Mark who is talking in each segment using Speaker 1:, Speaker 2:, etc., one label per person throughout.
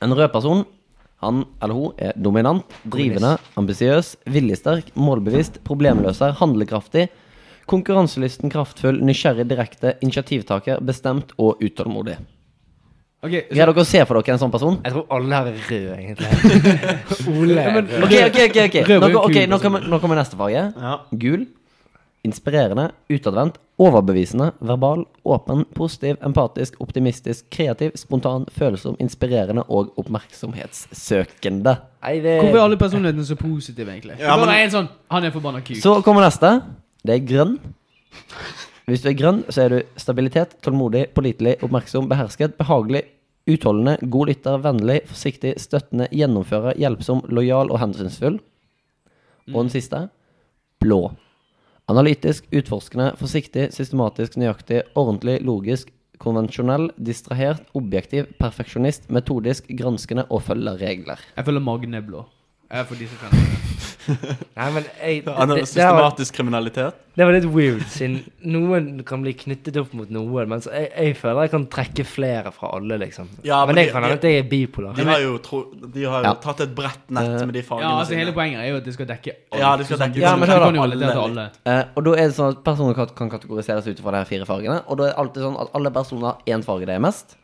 Speaker 1: En rød person, han eller hun, er dominant, drivende, ambisiøs, viljesterk, målbevisst, problemløser, handlekraftig, konkurranselysten, kraftfull, nysgjerrig, direkte, initiativtaker, bestemt og utålmodig.
Speaker 2: Ok, så,
Speaker 1: Greier dere å se for dere en sånn person?
Speaker 3: Jeg tror alle her er røde, egentlig. Ole er rød.
Speaker 1: Ok, ok, ok, ok
Speaker 2: Rød var
Speaker 1: Nå,
Speaker 2: jo
Speaker 1: ok,
Speaker 2: kul,
Speaker 1: nå, kommer, nå kommer neste farge.
Speaker 2: Ja.
Speaker 1: Gul. Inspirerende, utadvendt, overbevisende, verbal, åpen, positiv, empatisk, optimistisk, kreativ, spontan, følsom, inspirerende og oppmerksomhetssøkende.
Speaker 2: hvorfor er alle personlighetene så positive, egentlig?
Speaker 4: Ja,
Speaker 2: det Eh,
Speaker 4: men-
Speaker 2: bare er en sånn Han er forbanna kuk.
Speaker 1: Så kommer neste. Det er grønn. Hvis du er grønn, så er du stabilitet, tålmodig, pålitelig, oppmerksom, behersket, behagelig, utholdende, god lytter, vennlig, forsiktig, støttende, gjennomfører, hjelpsom, lojal og hensynsfull. Og den siste blå. Analytisk, utforskende, forsiktig, systematisk, nøyaktig, ordentlig, logisk, konvensjonell, distrahert, objektiv, perfeksjonist, metodisk, granskende og følger regler.
Speaker 2: Jeg føler Magne er blå. Jeg er for disse trendene.
Speaker 3: Nei, men jeg, det,
Speaker 4: Han
Speaker 3: det,
Speaker 4: er
Speaker 3: det, her var,
Speaker 4: systematisk kriminalitet.
Speaker 3: det var litt weird, siden noen kan bli knyttet opp mot noen. Mens jeg, jeg føler jeg kan trekke flere fra alle, liksom.
Speaker 4: Ja, men
Speaker 3: men jeg
Speaker 4: de-
Speaker 3: kan hende
Speaker 4: de-
Speaker 3: at jeg er bipolar.
Speaker 4: De har jo, tro, de har jo
Speaker 1: Ja.
Speaker 4: tatt et bredt nett med de
Speaker 2: Ja,
Speaker 4: fargene
Speaker 2: altså Hele
Speaker 4: sine.
Speaker 2: poenget er jo at det skal dekke alt.
Speaker 4: Ja, det skal
Speaker 2: Sånn,
Speaker 4: dekke
Speaker 2: du
Speaker 1: Ja,
Speaker 2: kan-
Speaker 1: men
Speaker 2: du
Speaker 1: hør da,
Speaker 2: kan jo relatere til
Speaker 4: alle.
Speaker 2: alle.
Speaker 1: Eh, og da er det sånn at Personer kat- kan kategoriseres ut fra de her fire fargene. Og da er det alltid sånn at alle personer har én farge de er mest.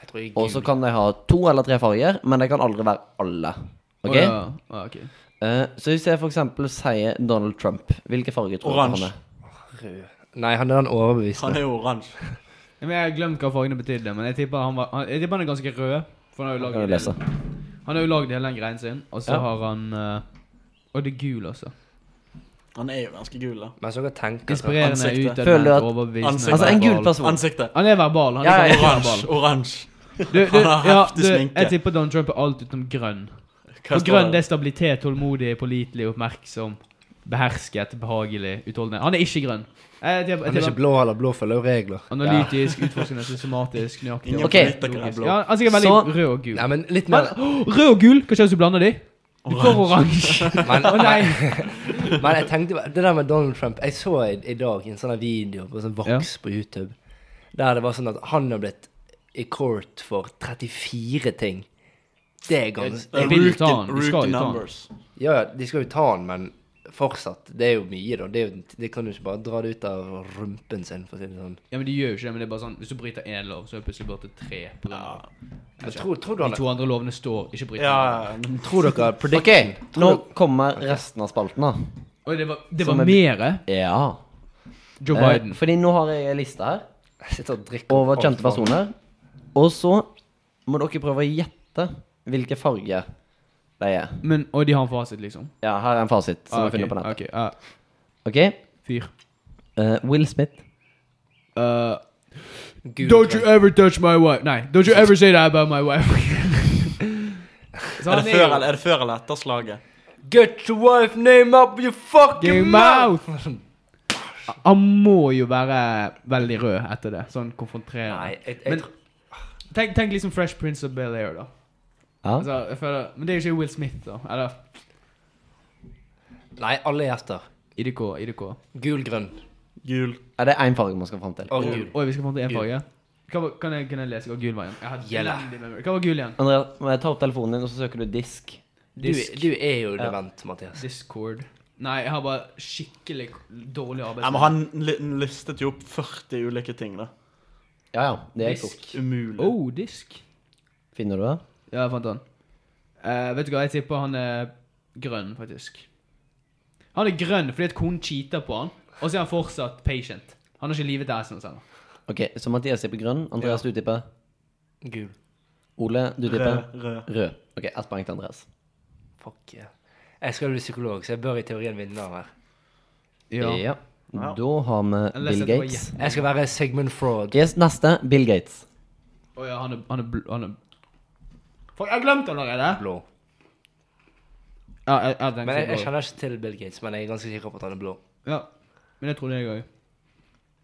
Speaker 3: Jeg tror jeg er
Speaker 1: Og så
Speaker 3: gul.
Speaker 1: kan de ha to eller tre farger, men de kan aldri være alle. Ok?
Speaker 2: Å, ja. Ja, ok.
Speaker 1: Eh, så hvis jeg for eksempel sier Donald Trump, hvilke farger tror dere han
Speaker 4: Oransje.
Speaker 1: er?
Speaker 3: Rød. Nei, han er den
Speaker 4: Han
Speaker 3: overbevisende.
Speaker 4: er jo oransje.
Speaker 2: Ja, men Jeg har glemt hva fargene betydde, men jeg tipper han, var, han, jeg tipper han er ganske rød. For han har jo
Speaker 1: Kan
Speaker 2: laget
Speaker 1: du lese?
Speaker 2: Han har jo lagd hele den greien sin, og så
Speaker 1: Ja.
Speaker 2: har han eh, Og det er gul, altså.
Speaker 4: Han er jo ganske gul, da.
Speaker 3: Men så kan jeg tenke at-
Speaker 2: Inspirerende,
Speaker 4: Ansiktet.
Speaker 1: Føler du
Speaker 2: utadvendt,
Speaker 1: at-
Speaker 2: overbevisende.
Speaker 4: Ansiktet.
Speaker 1: Altså en gul
Speaker 2: verbal.
Speaker 1: person.
Speaker 4: Ansiktet.
Speaker 2: Han er verbal. Han
Speaker 1: Ja,
Speaker 2: er
Speaker 1: ja,
Speaker 2: ganske verbal.
Speaker 4: Oransje. Oransje.
Speaker 2: Du, du,
Speaker 4: Han har
Speaker 2: ja,
Speaker 4: heftig
Speaker 2: du,
Speaker 4: sminke.
Speaker 2: jeg tipper Don Trump er alt utenom grønn.
Speaker 4: Hva
Speaker 2: For
Speaker 4: står
Speaker 2: grønn det
Speaker 4: det?
Speaker 2: er stabilitet, tålmodig, pålitelig, oppmerksom, behersket, behagelig, utholdende. Han er ikke grønn. Eh,
Speaker 3: Han
Speaker 2: Jeg tipper, jeg
Speaker 3: er ikke
Speaker 2: tipper
Speaker 3: blå heller. Blå følger jo regler.
Speaker 2: analytisk, utforskende, systematisk, nøyaktig.
Speaker 4: Ingen
Speaker 1: Ok.
Speaker 4: politikere er blå.
Speaker 2: Ja, han er sikkert veldig
Speaker 1: Så-
Speaker 2: rød og gul.
Speaker 3: Nei, men litt
Speaker 2: Men,
Speaker 3: mer
Speaker 2: Åh, rød og gul, hva skjer hvis du blander de? Du får oransje.
Speaker 3: men,
Speaker 2: Å nei.
Speaker 3: Men jeg tenkte bare- Det der med Donald Trump Jeg så i, i dag en sånn her video på sånn Vox på YouTube. Der det var sånn at han har blitt i court for 34 ting. Det er ganske
Speaker 2: Jeg
Speaker 4: Eh,
Speaker 2: vil jo ta
Speaker 4: rookie-
Speaker 2: han. Vi skal
Speaker 4: rookie
Speaker 2: jo ta han.
Speaker 4: numbers.
Speaker 3: Ja, ja, de skal jo ta han, men fortsatt. Det er jo mye, da. Det, er jo, det kan du ikke bare dra det ut av rumpen sin, for å si det sånn.
Speaker 2: Ja, men de gjør jo ikke det, men det er bare sånn, hvis du bryter én lov, så er det plutselig bare til tre. På grunn av-
Speaker 3: Men tror, tror, du
Speaker 2: De
Speaker 3: han,
Speaker 2: to andre lovene står ikke bryter.
Speaker 4: Ja,
Speaker 2: den.
Speaker 3: tror dere
Speaker 1: Ok,
Speaker 3: prediction
Speaker 1: nå kommer resten av spalten, da.
Speaker 2: Oi, det var, det var
Speaker 1: Som er-
Speaker 2: mere
Speaker 1: Ja.
Speaker 2: Joe
Speaker 1: Eh,
Speaker 2: Biden.
Speaker 1: fordi nå har jeg en liste her
Speaker 3: Jeg sitter og drikker
Speaker 1: over
Speaker 3: alt
Speaker 1: kjente
Speaker 3: for-
Speaker 1: personer. Og så må dere prøve å gjette hvilke farger de er.
Speaker 2: Men, og de har en fasit, liksom.
Speaker 1: Ja, her er en fasit som
Speaker 2: Ah,
Speaker 1: jeg har
Speaker 2: ok,
Speaker 1: funnet på nettet.
Speaker 2: ok, ah,
Speaker 1: Ok?
Speaker 2: fyr.
Speaker 1: Eh, Will Smith.
Speaker 2: Uh,
Speaker 3: Gud,
Speaker 2: don't you
Speaker 3: Trump.
Speaker 2: ever touch my wife. Nei, don't you ever say that about my wife. Så
Speaker 4: Sånn Er
Speaker 2: han
Speaker 4: det før
Speaker 2: jo-
Speaker 4: eller, er det før eller etter slaget?
Speaker 3: Get your wife name up your fucking
Speaker 2: Fucking
Speaker 3: mouth!
Speaker 2: mouth! Han må jo være veldig rød etter det. Sånn konfronterende.
Speaker 3: Nei, jeg, jeg,
Speaker 2: Men- Tenk, tenk liksom Fresh Prince of Bel-Air, da.
Speaker 1: Ja.
Speaker 2: Altså, jeg føler, men det er jo ikke Will Smith, da. Eller
Speaker 3: nei, alle gjester.
Speaker 2: IDK. IDK.
Speaker 3: Gul, grønn
Speaker 4: Gul.
Speaker 1: Ja, det er én farge man skal fram til.
Speaker 3: og gul.
Speaker 2: Oi, vi skal fram til én farge. Hva var, kan, jeg, kan jeg lese hva gul var igjen? Jeg har
Speaker 3: Gjella.
Speaker 2: elendig memory. Hva var gul igjen?
Speaker 1: Andrea, må jeg ta opp telefonen din, og så søker du disk.
Speaker 3: Du, du er jo dement, Mathias.
Speaker 2: Discord. Nei, jeg har bare skikkelig dårlig arbeid.
Speaker 4: Ja, men han li- listet jo opp 40 ulike ting, da.
Speaker 1: Ja, ja. Det er fort.
Speaker 2: disk.
Speaker 4: Umulig.
Speaker 2: Oh, disk.
Speaker 1: Finner du det?
Speaker 2: Ja, jeg fant han. Eh, vet du hva, jeg tipper han er grønn, faktisk. Han er grønn fordi at konen cheater på han, og så er han fortsatt patient. Han har ikke livet til assen hans ennå.
Speaker 1: Ok, Så Mathias tipper grønn. Andreas, du tipper?
Speaker 3: Gul.
Speaker 1: Ole, du tipper?
Speaker 4: Rød, rød.
Speaker 1: Rød. Ok, ett poeng til Andreas.
Speaker 3: Fuck yeah. Jeg skal bli psykolog, så jeg bør i teorien vinne her.
Speaker 1: ja. Da har vi
Speaker 2: Jeg leste
Speaker 1: Bill
Speaker 2: at det var
Speaker 1: Gates.
Speaker 3: Jeg skal være Sigmund Fraud.
Speaker 1: Yes, neste. Bill Gates.
Speaker 2: Å ja, han er, han er, bl han er... Fuck, jeg har glemt han allerede!
Speaker 3: Blå.
Speaker 2: Ja, jeg, jeg tenkte
Speaker 3: Men jeg, jeg
Speaker 2: blå.
Speaker 3: kjenner ikke til Bill Gates, men jeg er ganske sikker på at han er blå.
Speaker 2: Ja, men jeg trodde jeg òg.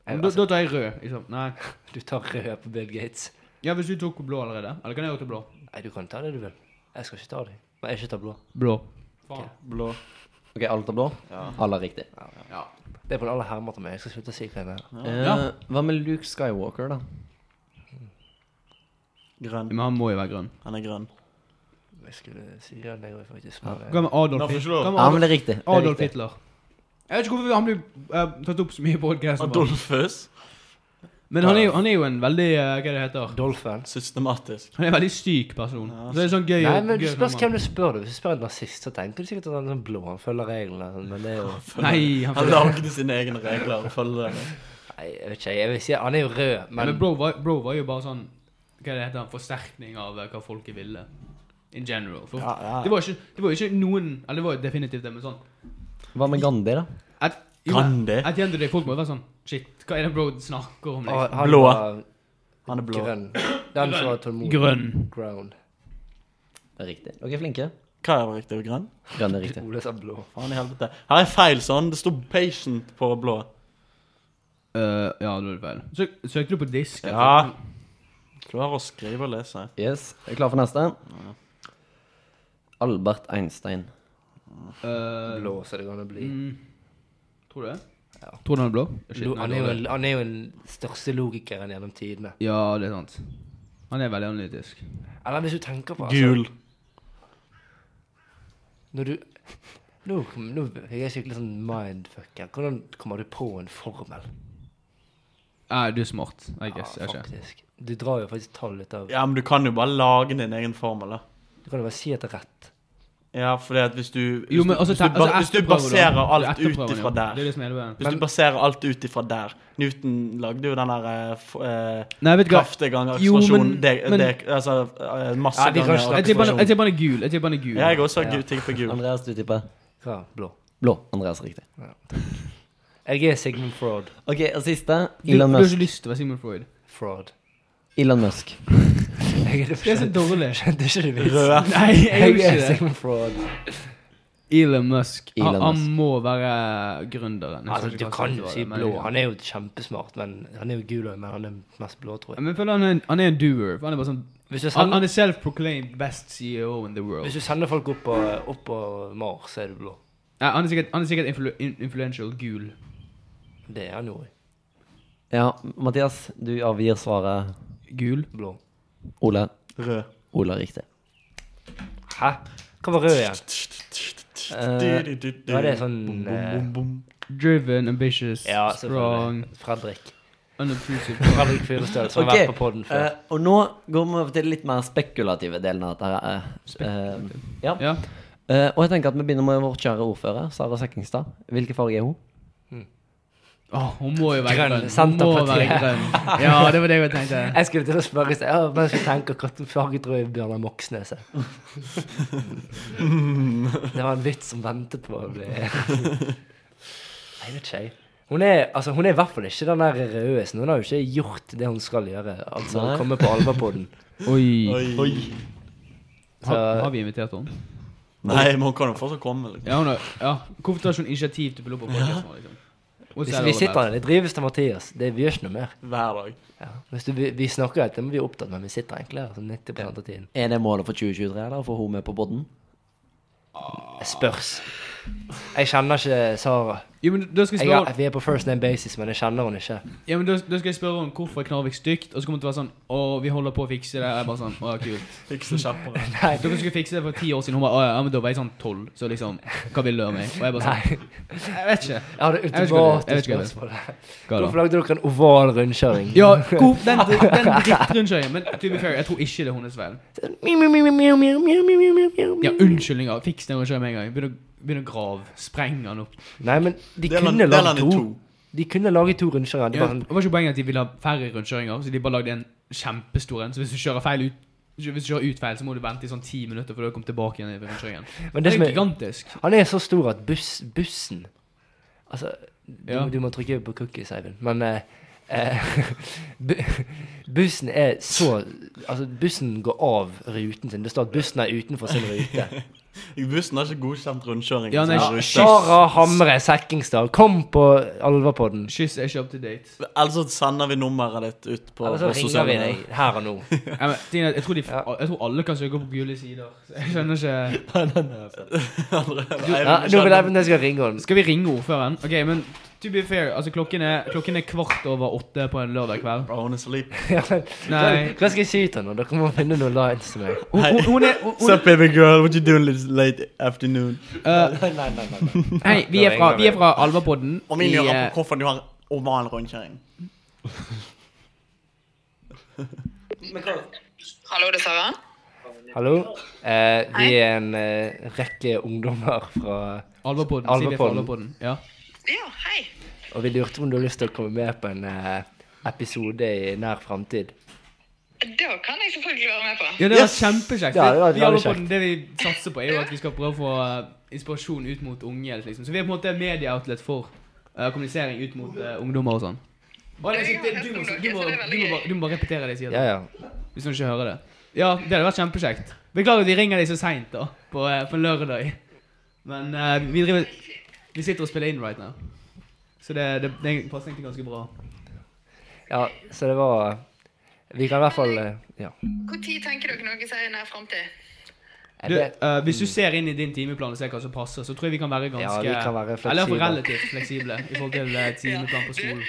Speaker 3: Jeg,
Speaker 2: Da
Speaker 3: altså,
Speaker 2: da tar jeg rød. Liksom. Nei.
Speaker 3: du tar rød på Bill Gates.
Speaker 2: Ja, hvis du tok blå allerede. Eller kan jeg også ta blå?
Speaker 3: Nei, du kan ta det du vil. Jeg skal ikke ta det. Men jeg ikke ta blå.
Speaker 2: Blå.
Speaker 4: Blå.
Speaker 1: Ok, Alt er blå? Alle er riktig.
Speaker 2: Ja.
Speaker 3: Det er på alle hermer til meg. Jeg skal slutte å si hva jeg mener.
Speaker 1: Eh,
Speaker 2: Ja.
Speaker 1: Hva med Luke Skywalker, da?
Speaker 4: Grønn.
Speaker 2: Men han må jo være grønn.
Speaker 4: Han er grønn.
Speaker 3: Jeg skulle si Jan Negro, faktisk.
Speaker 1: Ja.
Speaker 3: men, eh,
Speaker 2: Hva med Adolf
Speaker 4: Da får ikke lov.
Speaker 2: Hitler? Hva med
Speaker 1: Ja, men
Speaker 2: Adolf,
Speaker 1: det er riktig. Det er
Speaker 2: Adolf
Speaker 1: riktig.
Speaker 2: Hitler? Jeg vet ikke hvorfor han blir eh, tatt opp så mye i podkasten.
Speaker 4: Adolfus.
Speaker 2: Men han er, jo, han er jo en veldig eh, Hva det heter
Speaker 3: Dolphin.
Speaker 4: Systematisk.
Speaker 2: Han er en veldig syk person.
Speaker 4: Ja.
Speaker 2: Så det er sånn gøy
Speaker 3: Nei, men du
Speaker 2: gøy
Speaker 3: spørs hvem
Speaker 2: fenomen.
Speaker 3: du spør. du. Hvis du spør en nazist, så tenker du sikkert at han er sånn blå, han følger reglene. og sånn, Men det er jo
Speaker 2: Nei, han
Speaker 4: Han lagde sine egne regler og følger dem.
Speaker 3: Nei, jeg vet ikke. Jeg vil si han er jo rød,
Speaker 2: Men,
Speaker 3: men
Speaker 2: bro, var, bro var jo bare sånn Hva det heter, en forsterkning av eh, hva folket ville. In general. For,
Speaker 4: Ja, ja.
Speaker 2: Det, var ikke, det var ikke noen Eller det var jo definitivt det, men sånn
Speaker 1: Hva med Gandhi, da?
Speaker 2: at, jo,
Speaker 4: Gandhi.
Speaker 2: At igjen til deg, folk må jo være sånn Shit, hva er det bro snakker om?
Speaker 3: han
Speaker 2: Liksom?
Speaker 3: han
Speaker 4: Blå.
Speaker 3: var
Speaker 4: Han er blå.
Speaker 3: grønn. Den som var tålmodig.
Speaker 2: Grønn.
Speaker 3: Ground.
Speaker 1: Det er riktig. Dere er flinke.
Speaker 4: Hva er riktig? Grønn?
Speaker 1: Grønn er riktig.
Speaker 3: Ole sa blå.
Speaker 4: Faen i helvete. Her er feil, sånn. Det sto patient på blå.
Speaker 2: Eh, ja, da er det feil. Søk, søkte du på disk?
Speaker 4: Ja. Klarer å skrive og lese.
Speaker 1: Yes, er du klar for neste? Albert Einstein.
Speaker 2: Eh,
Speaker 3: Blå, så det går an å bli.
Speaker 2: Mm, tror du det?
Speaker 3: Ja.
Speaker 2: Tror du han er blå? Shit,
Speaker 3: Lo,
Speaker 2: nei,
Speaker 3: han,
Speaker 2: det
Speaker 3: er jo,
Speaker 2: var det.
Speaker 3: en- han er jo den største logikeren gjennom tidene.
Speaker 2: Ja, det er sant. Han er veldig analytisk.
Speaker 3: Eller hvis du tenker på altså,
Speaker 4: Gul.
Speaker 3: Når du nå, kom- nå jeg er skikkelig sånn mindfucker. Hvordan kommer du på en formel?
Speaker 2: Nei, du er smart. I guess. jeg vet ikke.
Speaker 3: faktisk. Du drar jo faktisk tall ut av
Speaker 4: Ja, men du kan jo bare lage din egen formel, da.
Speaker 3: Du kan jo bare si at det er rett.
Speaker 4: Ja, fordi at hvis du Hvis,
Speaker 2: Jo, men
Speaker 4: du-
Speaker 2: altså,
Speaker 4: hvis, du, ba, hvis du baserer alt ut ifra
Speaker 2: ifra Det er
Speaker 4: der
Speaker 2: det som er hele veien.
Speaker 4: Hvis du baserer alt ut ifra der Newton lagde jo den der eh, f- eh,
Speaker 2: Nei, vet du hva?
Speaker 4: kraftige ganger
Speaker 2: Jo, men-
Speaker 4: akselerasjon de-
Speaker 2: men-
Speaker 4: de- Altså eh, masse
Speaker 3: Ja, vi kan snakke-
Speaker 2: Jeg tipper
Speaker 4: ganger
Speaker 2: han-
Speaker 4: akselerasjon.
Speaker 2: jeg tipper han er gul. Jeg tipper han er gul.
Speaker 4: Ja, jeg også
Speaker 3: Ja.
Speaker 4: har ting på gul.
Speaker 1: Andreas, du tipper
Speaker 3: Hva? Blå.
Speaker 1: blå. Andreas er riktig.
Speaker 3: Jeg er Sigmund Fraud.
Speaker 1: Ok, og siste.
Speaker 2: Du, du
Speaker 1: Elon
Speaker 2: har ikke
Speaker 1: Musk.
Speaker 2: lyst til å være Sigmund Freud.
Speaker 3: Fraud.
Speaker 1: Elon Musk.
Speaker 3: Jeg er
Speaker 2: Det er så dårlig.
Speaker 3: Skjønte ikke du vitsen?
Speaker 4: Rød.
Speaker 2: Nei, jeg
Speaker 3: Jeg
Speaker 2: gjør
Speaker 3: er
Speaker 2: ikke det.
Speaker 3: Sigmund Fraud.
Speaker 2: Elon Musk. Han,
Speaker 1: Elon
Speaker 2: han
Speaker 1: Musk.
Speaker 2: må være gründeren. Jeg
Speaker 3: Altså,
Speaker 2: skjønner
Speaker 3: du
Speaker 2: ikke hva
Speaker 3: kan
Speaker 2: som
Speaker 3: jo
Speaker 2: var
Speaker 3: si
Speaker 2: det, men-
Speaker 3: blå. Han er jo kjempesmart, men han er jo gul også, men han er mest blå, tror jeg.
Speaker 2: Men jeg føler han er, en- han er en doer. for Han er bare sånn
Speaker 3: Hvis du
Speaker 2: Han,
Speaker 3: sender,
Speaker 2: han er self-proclaimed best CEO in the world.
Speaker 3: hvis du sender folk opp på, opp på Mars, så er du blå.
Speaker 2: Nei, han er sikkert, han er sikkert influ, in, influential gul.
Speaker 3: Det er han jo.
Speaker 1: Ja, Mathias, du avgir svaret.
Speaker 2: Gul?
Speaker 3: Blå.
Speaker 1: Ole.
Speaker 4: Rød.
Speaker 2: Eh,
Speaker 1: Ole er riktig.
Speaker 3: Hæ? Hva var rød igjen? Var det sånn eh,
Speaker 4: Bom, bom.
Speaker 2: Driven, ambitious,
Speaker 3: Ja,
Speaker 2: strong,
Speaker 3: selvfølgelig. Fredrik.
Speaker 2: unobtrusive.
Speaker 3: Fredrik Fyrestøl, som har vært på podden før.
Speaker 1: eh, og nå går vi over til den litt mer spekulative delen av dette. her, eh, eh, ja.
Speaker 2: Ja.
Speaker 1: Eh, og jeg tenker at vi begynner med vår kjære ordfører, Sara Sekkingstad. Hvilken farge er hun?
Speaker 2: Åh, hun må jo være
Speaker 3: Grønn.
Speaker 2: grønn. Hun må
Speaker 3: Senterpartiet.
Speaker 2: være grønn. Ja, det var det jeg tenkte.
Speaker 3: Jeg skulle til å spørre i sted, ja, men jeg skulle tenke hvilken farge tror jeg Bjørnar Moxnes er. Det var en vits som ventet på å bli Jeg vet ikke, jeg. Hun er, altså, hun er i hvert fall ikke den der rødesen. Hun har jo ikke gjort det hun skal gjøre. Altså
Speaker 1: Nei.
Speaker 3: komme på Alverpodden.
Speaker 2: Oi.
Speaker 4: Oi.
Speaker 2: Har, har vi invitert henne?
Speaker 4: Nei, men hun kan jo fortsatt komme. Liksom.
Speaker 2: Ja, hun har, ja. Hvorfor tar ikke hun initiativ til å pulle opp på podcasten? Liksom? Hun
Speaker 3: Hvis
Speaker 2: ser
Speaker 3: vi
Speaker 2: det
Speaker 3: sitter
Speaker 2: overalt.
Speaker 3: her, det drives av Mathias. Det, vi gjør ikke noe mer.
Speaker 4: Hver dag.
Speaker 3: Ja. Hvis du, vi, vi snakker jo at det må vi er opptatt, men vi sitter egentlig her sånn 90 av tiden.
Speaker 1: Er det målet for 2023, eller? Få hun med på podden?
Speaker 3: Spørs. Jeg kjenner ikke Sara.
Speaker 2: Jo, men da skal
Speaker 3: Jeg,
Speaker 2: jeg spørre
Speaker 3: har- vi er på first name basis, men jeg kjenner henne ikke.
Speaker 2: Ja, men da, da skal jeg spørre henne hvorfor er Knarvik stygt, og så kommer hun til å være sånn Å, vi holder på å fikse det. Jeg er bare sånn Å, kult.
Speaker 4: Fikse kjappere.
Speaker 3: Nei,
Speaker 2: Dere skulle fikse det for ti år siden. Hun bare Å ja, men da var jeg sånn tolv, så liksom Hva vil du av meg? Og jeg bare
Speaker 3: Nei.
Speaker 2: sånn Jeg vet ikke.
Speaker 3: Jeg hadde
Speaker 2: vet ikke hva det er. Jeg
Speaker 3: automatisk
Speaker 2: vet ikke hva det er.
Speaker 3: spørsmål.
Speaker 2: Hva da?
Speaker 3: Hvorfor lagde dere en oval rundkjøring?
Speaker 2: Ja, hvor, den, den drittrundkjøringen. Men to be fair, jeg tror ikke det er hennes feil.
Speaker 3: Miau, miau, miau, miau, miau, miau, miau, miau, miau, miau.
Speaker 2: Ja, unnskyldninger. Fiks den rundkjøringen med en gang. Begynn å, begynn å grave. Spreng den opp.
Speaker 3: Nei, men de
Speaker 4: Del han-
Speaker 3: kunne
Speaker 4: del han
Speaker 3: lage
Speaker 4: i
Speaker 3: to.
Speaker 4: to.
Speaker 3: De kunne lage to rundkjøringer. De
Speaker 2: Ja,
Speaker 3: bare sånn,
Speaker 2: det var ikke poenget at de ville ha færre rundkjøringer, så de bare lagde en kjempestor en. Så hvis du kjører feil ut hvis du kjører ut feil, så må du vente i sånn ti minutter før du kommer tilbake igjen i rundkjøringen.
Speaker 3: men det
Speaker 2: Det er
Speaker 3: som
Speaker 2: jo
Speaker 3: er,
Speaker 2: gigantisk.
Speaker 3: han er så stor at buss, bussen Altså, du,
Speaker 2: Ja.
Speaker 3: du må trykke på cookies, Eivind, men eh, eh, bu- Bussen er så Altså, bussen går av ruten sin. Det står at bussen er utenfor sin rute.
Speaker 4: Bussen har ikke godkjent rundkjøring. Sånn
Speaker 2: Ja, nei,
Speaker 4: på sin
Speaker 2: shit.
Speaker 4: rute.
Speaker 3: Sara Hamre Sekkingstad, kom på Alverpodden.
Speaker 2: Kyss er ikke up to date.
Speaker 4: Ellers så sender vi nummeret ditt ut på,
Speaker 3: Eller så ringer
Speaker 4: på
Speaker 3: vi
Speaker 4: sosiale
Speaker 3: deg
Speaker 4: medier.
Speaker 3: her og nå.
Speaker 2: Ja, men, Tina, jeg, tror de,
Speaker 3: Ja.
Speaker 2: jeg tror alle kan søke på gule sider. Så jeg skjønner ikke
Speaker 4: Andre- Nei,
Speaker 3: Ja,
Speaker 4: vi
Speaker 3: nå vil
Speaker 4: kjenner-
Speaker 3: jeg, jeg skal ringe henne.
Speaker 2: Skal vi ringe ordføreren? OK, men To be fair, altså klokken er, klokken er kvart over åtte på en lørdag kveld.
Speaker 4: Bro, hun er så lip.
Speaker 3: Ja, men,
Speaker 2: Nei.
Speaker 3: Hva skal jeg si til henne? Dere må finne noen lines til meg.
Speaker 2: Hun, hun, hun er, hun, hun,
Speaker 4: Sup, baby girl, what you doing this late afternoon?
Speaker 2: eh,
Speaker 3: Nei, nei, nei, nei.
Speaker 2: hei, vi er fra, vi er fra Alvapodden.
Speaker 4: Og min
Speaker 2: i,
Speaker 4: gjør
Speaker 2: eh,
Speaker 4: på hvorfor du har oval rundkjøring.
Speaker 5: Hallo, det er Sara.
Speaker 3: Hallo? Eh, vi er en eh, rekke ungdommer fra
Speaker 2: Alvapodden. sier vi er fra
Speaker 3: Alvapodden.
Speaker 2: Alvapodden. Ja.
Speaker 5: Ja, hei.
Speaker 3: Og vi lurte om du har lyst til å komme med på en eh, episode i nær framtid.
Speaker 5: Da kan jeg selvfølgelig være med på.
Speaker 2: Ja, det var kjempekjekt.
Speaker 3: Ja, det var
Speaker 2: vi
Speaker 3: veldig
Speaker 2: holder på den- det vi satser på, er jo at vi skal prøve å få eh, inspirasjon ut mot unge. Liksom. Så vi er på en måte medieoutlet for eh, kommunisering ut mot eh, ungdommer og sånn. Og det, det, du, må, du, må, du, må bare, du må bare repetere det jeg sier,
Speaker 3: Ja, ja.
Speaker 2: hvis noen ikke hører det. Ja, det hadde vært kjempekjekt. Beklager at vi ringer deg så seint, da, på, eh, på lørdag. Men eh, vi driver Vi sitter og spiller inn right now. Så det, det, det passer egentlig ganske bra.
Speaker 3: ja så det var Vi kan i hvert fall eh, Ja.
Speaker 5: Hvor tid tenker dere noe seg i nær fremtid?
Speaker 3: Jeg
Speaker 2: Du,
Speaker 3: vet,
Speaker 2: eh, hvis du ser inn i din timeplan og ser hva som passer, så tror jeg vi kan være ganske
Speaker 3: Ja, vi kan være fleksible.
Speaker 2: Eller i hvert fall relativt fleksible i forhold til eh, timeplan på skolen.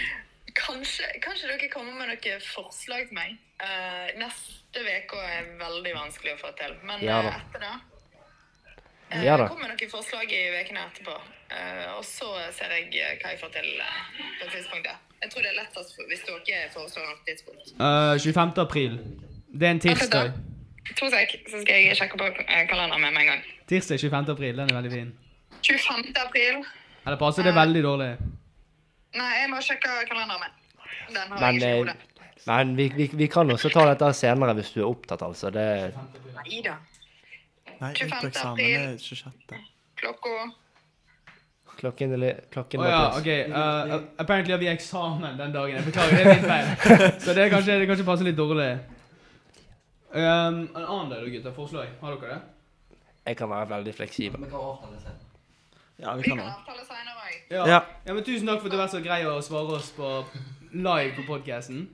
Speaker 5: Kanskje, kanskje dere kommer med noen forslag til meg. Eh, neste uke er veldig vanskelig å få til, men
Speaker 3: Ja da.
Speaker 5: eh, etter det eh,
Speaker 3: Ja da.
Speaker 5: kommer noen forslag i ukene etterpå. Eh, og så ser jeg eh, hva jeg får til eh, på tidspunktet. Jeg tror det er lettest for- hvis dere foreslår noe tidspunkt.
Speaker 2: Eh, 25. april. Det er en tirsdag.
Speaker 5: To sek, så skal jeg sjekke på eh, kalenderen med meg en gang.
Speaker 2: Tirsdag 25. april, den er veldig fin.
Speaker 5: 25. april.
Speaker 2: Eller passer det veldig dårlig?
Speaker 5: Nei, jeg må sjekke kalenderen min. Den har
Speaker 3: men
Speaker 5: jeg ikke i
Speaker 3: eh,
Speaker 5: hodet.
Speaker 3: men vi, vi, vi kan også ta dette senere hvis du er opptatt, altså. Det,
Speaker 5: Nei da.
Speaker 4: Nei, ikke
Speaker 5: 25.
Speaker 4: eksamen, det er 26.
Speaker 5: Klokka
Speaker 3: klokken er li- klokken
Speaker 2: Å
Speaker 3: var
Speaker 2: ja,
Speaker 3: til-
Speaker 2: OK. eh, eh, apparently har vi eksamen den dagen. Jeg beklager, det er min feil. Så det er kanskje, det kanskje passer litt dårlig. Um, en annen dag, da, gutter. Forslag. Har dere det?
Speaker 3: Jeg kan være veldig fleksibel.
Speaker 4: Ja, vi kan
Speaker 5: Vi kan
Speaker 4: det.
Speaker 5: avtale senere òg.
Speaker 4: Ja.
Speaker 2: ja, men Tusen takk for at du har vært så grei å svare oss på live på podkasten.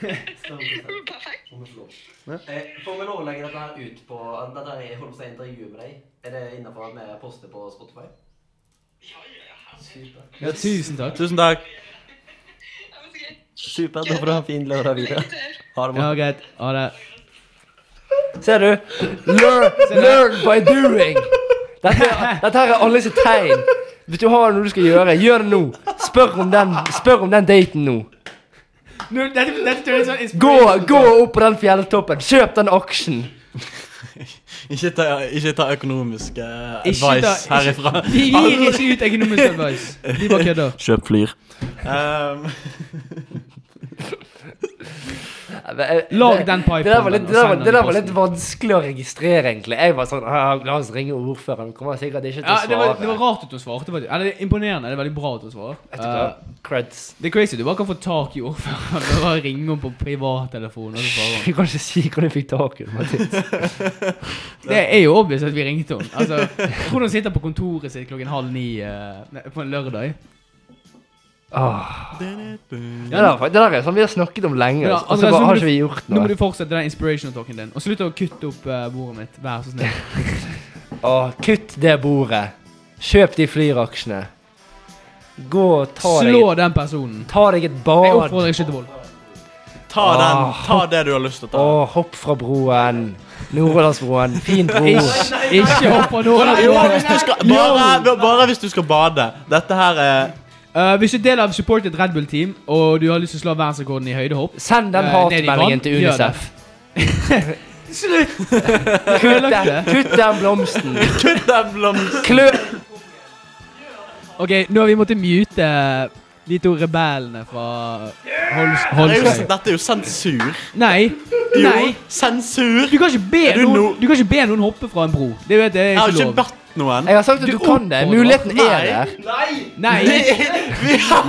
Speaker 5: Perfekt.
Speaker 1: Eh, Får vi lov å legge dette her ut på Dette er holdt på å si intervju med deg. Er det innafor at vi poster på Spotify?
Speaker 2: Ja, tusen takk.
Speaker 4: Tusen takk.
Speaker 5: Ja, men så gøy.
Speaker 1: Supert. Da får du ha en fin lørdag videre. Ha det bra.
Speaker 2: Ja, greit. Ha det.
Speaker 3: Ser du? Learn, learn by doing. Dette, dette her er alles tegn. Hvis du har noe du skal gjøre, gjør det nå. Spør om den, spør om den daten nå.
Speaker 2: Nå, dette, dette turner sånn
Speaker 3: Gå,
Speaker 2: inspirasjon.
Speaker 3: gå opp på den fjelltoppen. Kjøp den aksjen.
Speaker 4: Ikke ta, ikke ta økonomisk eh,
Speaker 2: Ikke
Speaker 4: advice
Speaker 2: da-
Speaker 4: herifra.
Speaker 2: Vi gir ikke ut økonomisk advice. Vi bare kødder.
Speaker 4: Kjøp flyr. Um,
Speaker 2: Lag den
Speaker 3: Det der
Speaker 2: pipen,
Speaker 3: var litt,
Speaker 2: og
Speaker 3: det der var,
Speaker 2: send den
Speaker 3: det
Speaker 2: i
Speaker 3: der var litt
Speaker 2: posten.
Speaker 3: vanskelig å registrere, egentlig. Jeg var sånn «Ah, La oss ringe ordføreren. Han kommer sikkert ikke til
Speaker 2: Ja,
Speaker 3: å
Speaker 2: det, var, det var
Speaker 3: svare.
Speaker 2: rart at hun svarte. faktisk. Eller det er imponerende. Det er veldig bra at hun svarer.
Speaker 3: Vet du hva?
Speaker 2: Eh,
Speaker 3: Creds.
Speaker 2: det er crazy. Du bare kan få tak i ordføreren og bare ringe henne på privattelefonen. og så svarer hun.
Speaker 3: Du kan ikke si hvordan du fikk tak i den, Mathias.
Speaker 2: Det er jo obvious at vi ringte henne. Altså, jeg tror hun sitter på kontoret sitt klokken halv ni eh, nei, på en lørdag.
Speaker 3: Åh. Ah. Ja, det, er fakt- det der er sånn vi har snakket om lenge,
Speaker 2: Ja,
Speaker 3: og
Speaker 2: Andreas,
Speaker 3: så
Speaker 2: nå
Speaker 3: bare
Speaker 2: må
Speaker 3: har
Speaker 2: du-
Speaker 3: ikke vi gjort
Speaker 2: Nå må
Speaker 3: noe.
Speaker 2: du fortsette den inspirational talken din. Og slutt å kutte opp eh, bordet mitt. Vær så snill.
Speaker 3: Åh, kutt det bordet. Kjøp de flyraksjene. Gå og ta deg,
Speaker 2: Slå den personen.
Speaker 3: ta deg et
Speaker 2: Jeg
Speaker 3: bad.
Speaker 2: oppfordrer ikke til vold.
Speaker 4: ta, den, ta det du har lyst til å ta.
Speaker 3: Åh, hopp fra broen. Nordhordlandsbroen. Fin bro.
Speaker 2: Ikke hopp av noen av
Speaker 4: Jo,
Speaker 2: broene.
Speaker 4: hvis du skal, bare, bare hvis du skal bade. Dette her er
Speaker 2: Eh, hvis du er del av supported Red Bull Team, og du har lyst til å slå verdensrekorden i høydehopp
Speaker 3: Send den
Speaker 2: Eh, ned i vann.
Speaker 3: hatmeldingen til
Speaker 2: Gjør det.
Speaker 3: UNICEF.
Speaker 2: Slutt!
Speaker 3: Kutt den, kutt den blomsten.
Speaker 4: Kutt den blomsten!
Speaker 3: Klø
Speaker 2: Ok, nå har vi måttet mute eh, de to rebellene fra Hols
Speaker 4: Det er jo-
Speaker 2: Holsøy.
Speaker 4: Dette er jo sensur.
Speaker 2: Nei. Nei.
Speaker 4: Jo, sensur!
Speaker 2: Du kan, ikke be
Speaker 4: Er du
Speaker 2: noen,
Speaker 4: no-
Speaker 2: du kan ikke be noen hoppe fra en bro. Det vet jeg
Speaker 4: Jeg har
Speaker 2: er ikke
Speaker 4: ikke
Speaker 2: lov.
Speaker 4: bedt noen.
Speaker 3: Jeg har sagt at
Speaker 2: Du
Speaker 3: du kan det.
Speaker 2: oppfordrer.
Speaker 3: Muligheten er
Speaker 4: Nei.
Speaker 3: der.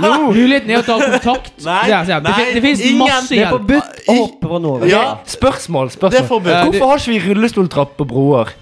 Speaker 2: Nei. Muligheten er å ta kontakt.
Speaker 4: Nei,
Speaker 2: Der, ser jeg. Det,
Speaker 4: nei,
Speaker 2: fin- det finnes
Speaker 4: ingen-
Speaker 2: masse
Speaker 4: det er
Speaker 2: hjelp.
Speaker 1: Forbudt å hoppe fra noe.
Speaker 4: Ja,
Speaker 3: Spørsmål,
Speaker 4: det er
Speaker 3: spørsmål.
Speaker 4: forbudt.
Speaker 2: Eh, det-
Speaker 3: Hvorfor har ikke vi rullestoltrapp på broer?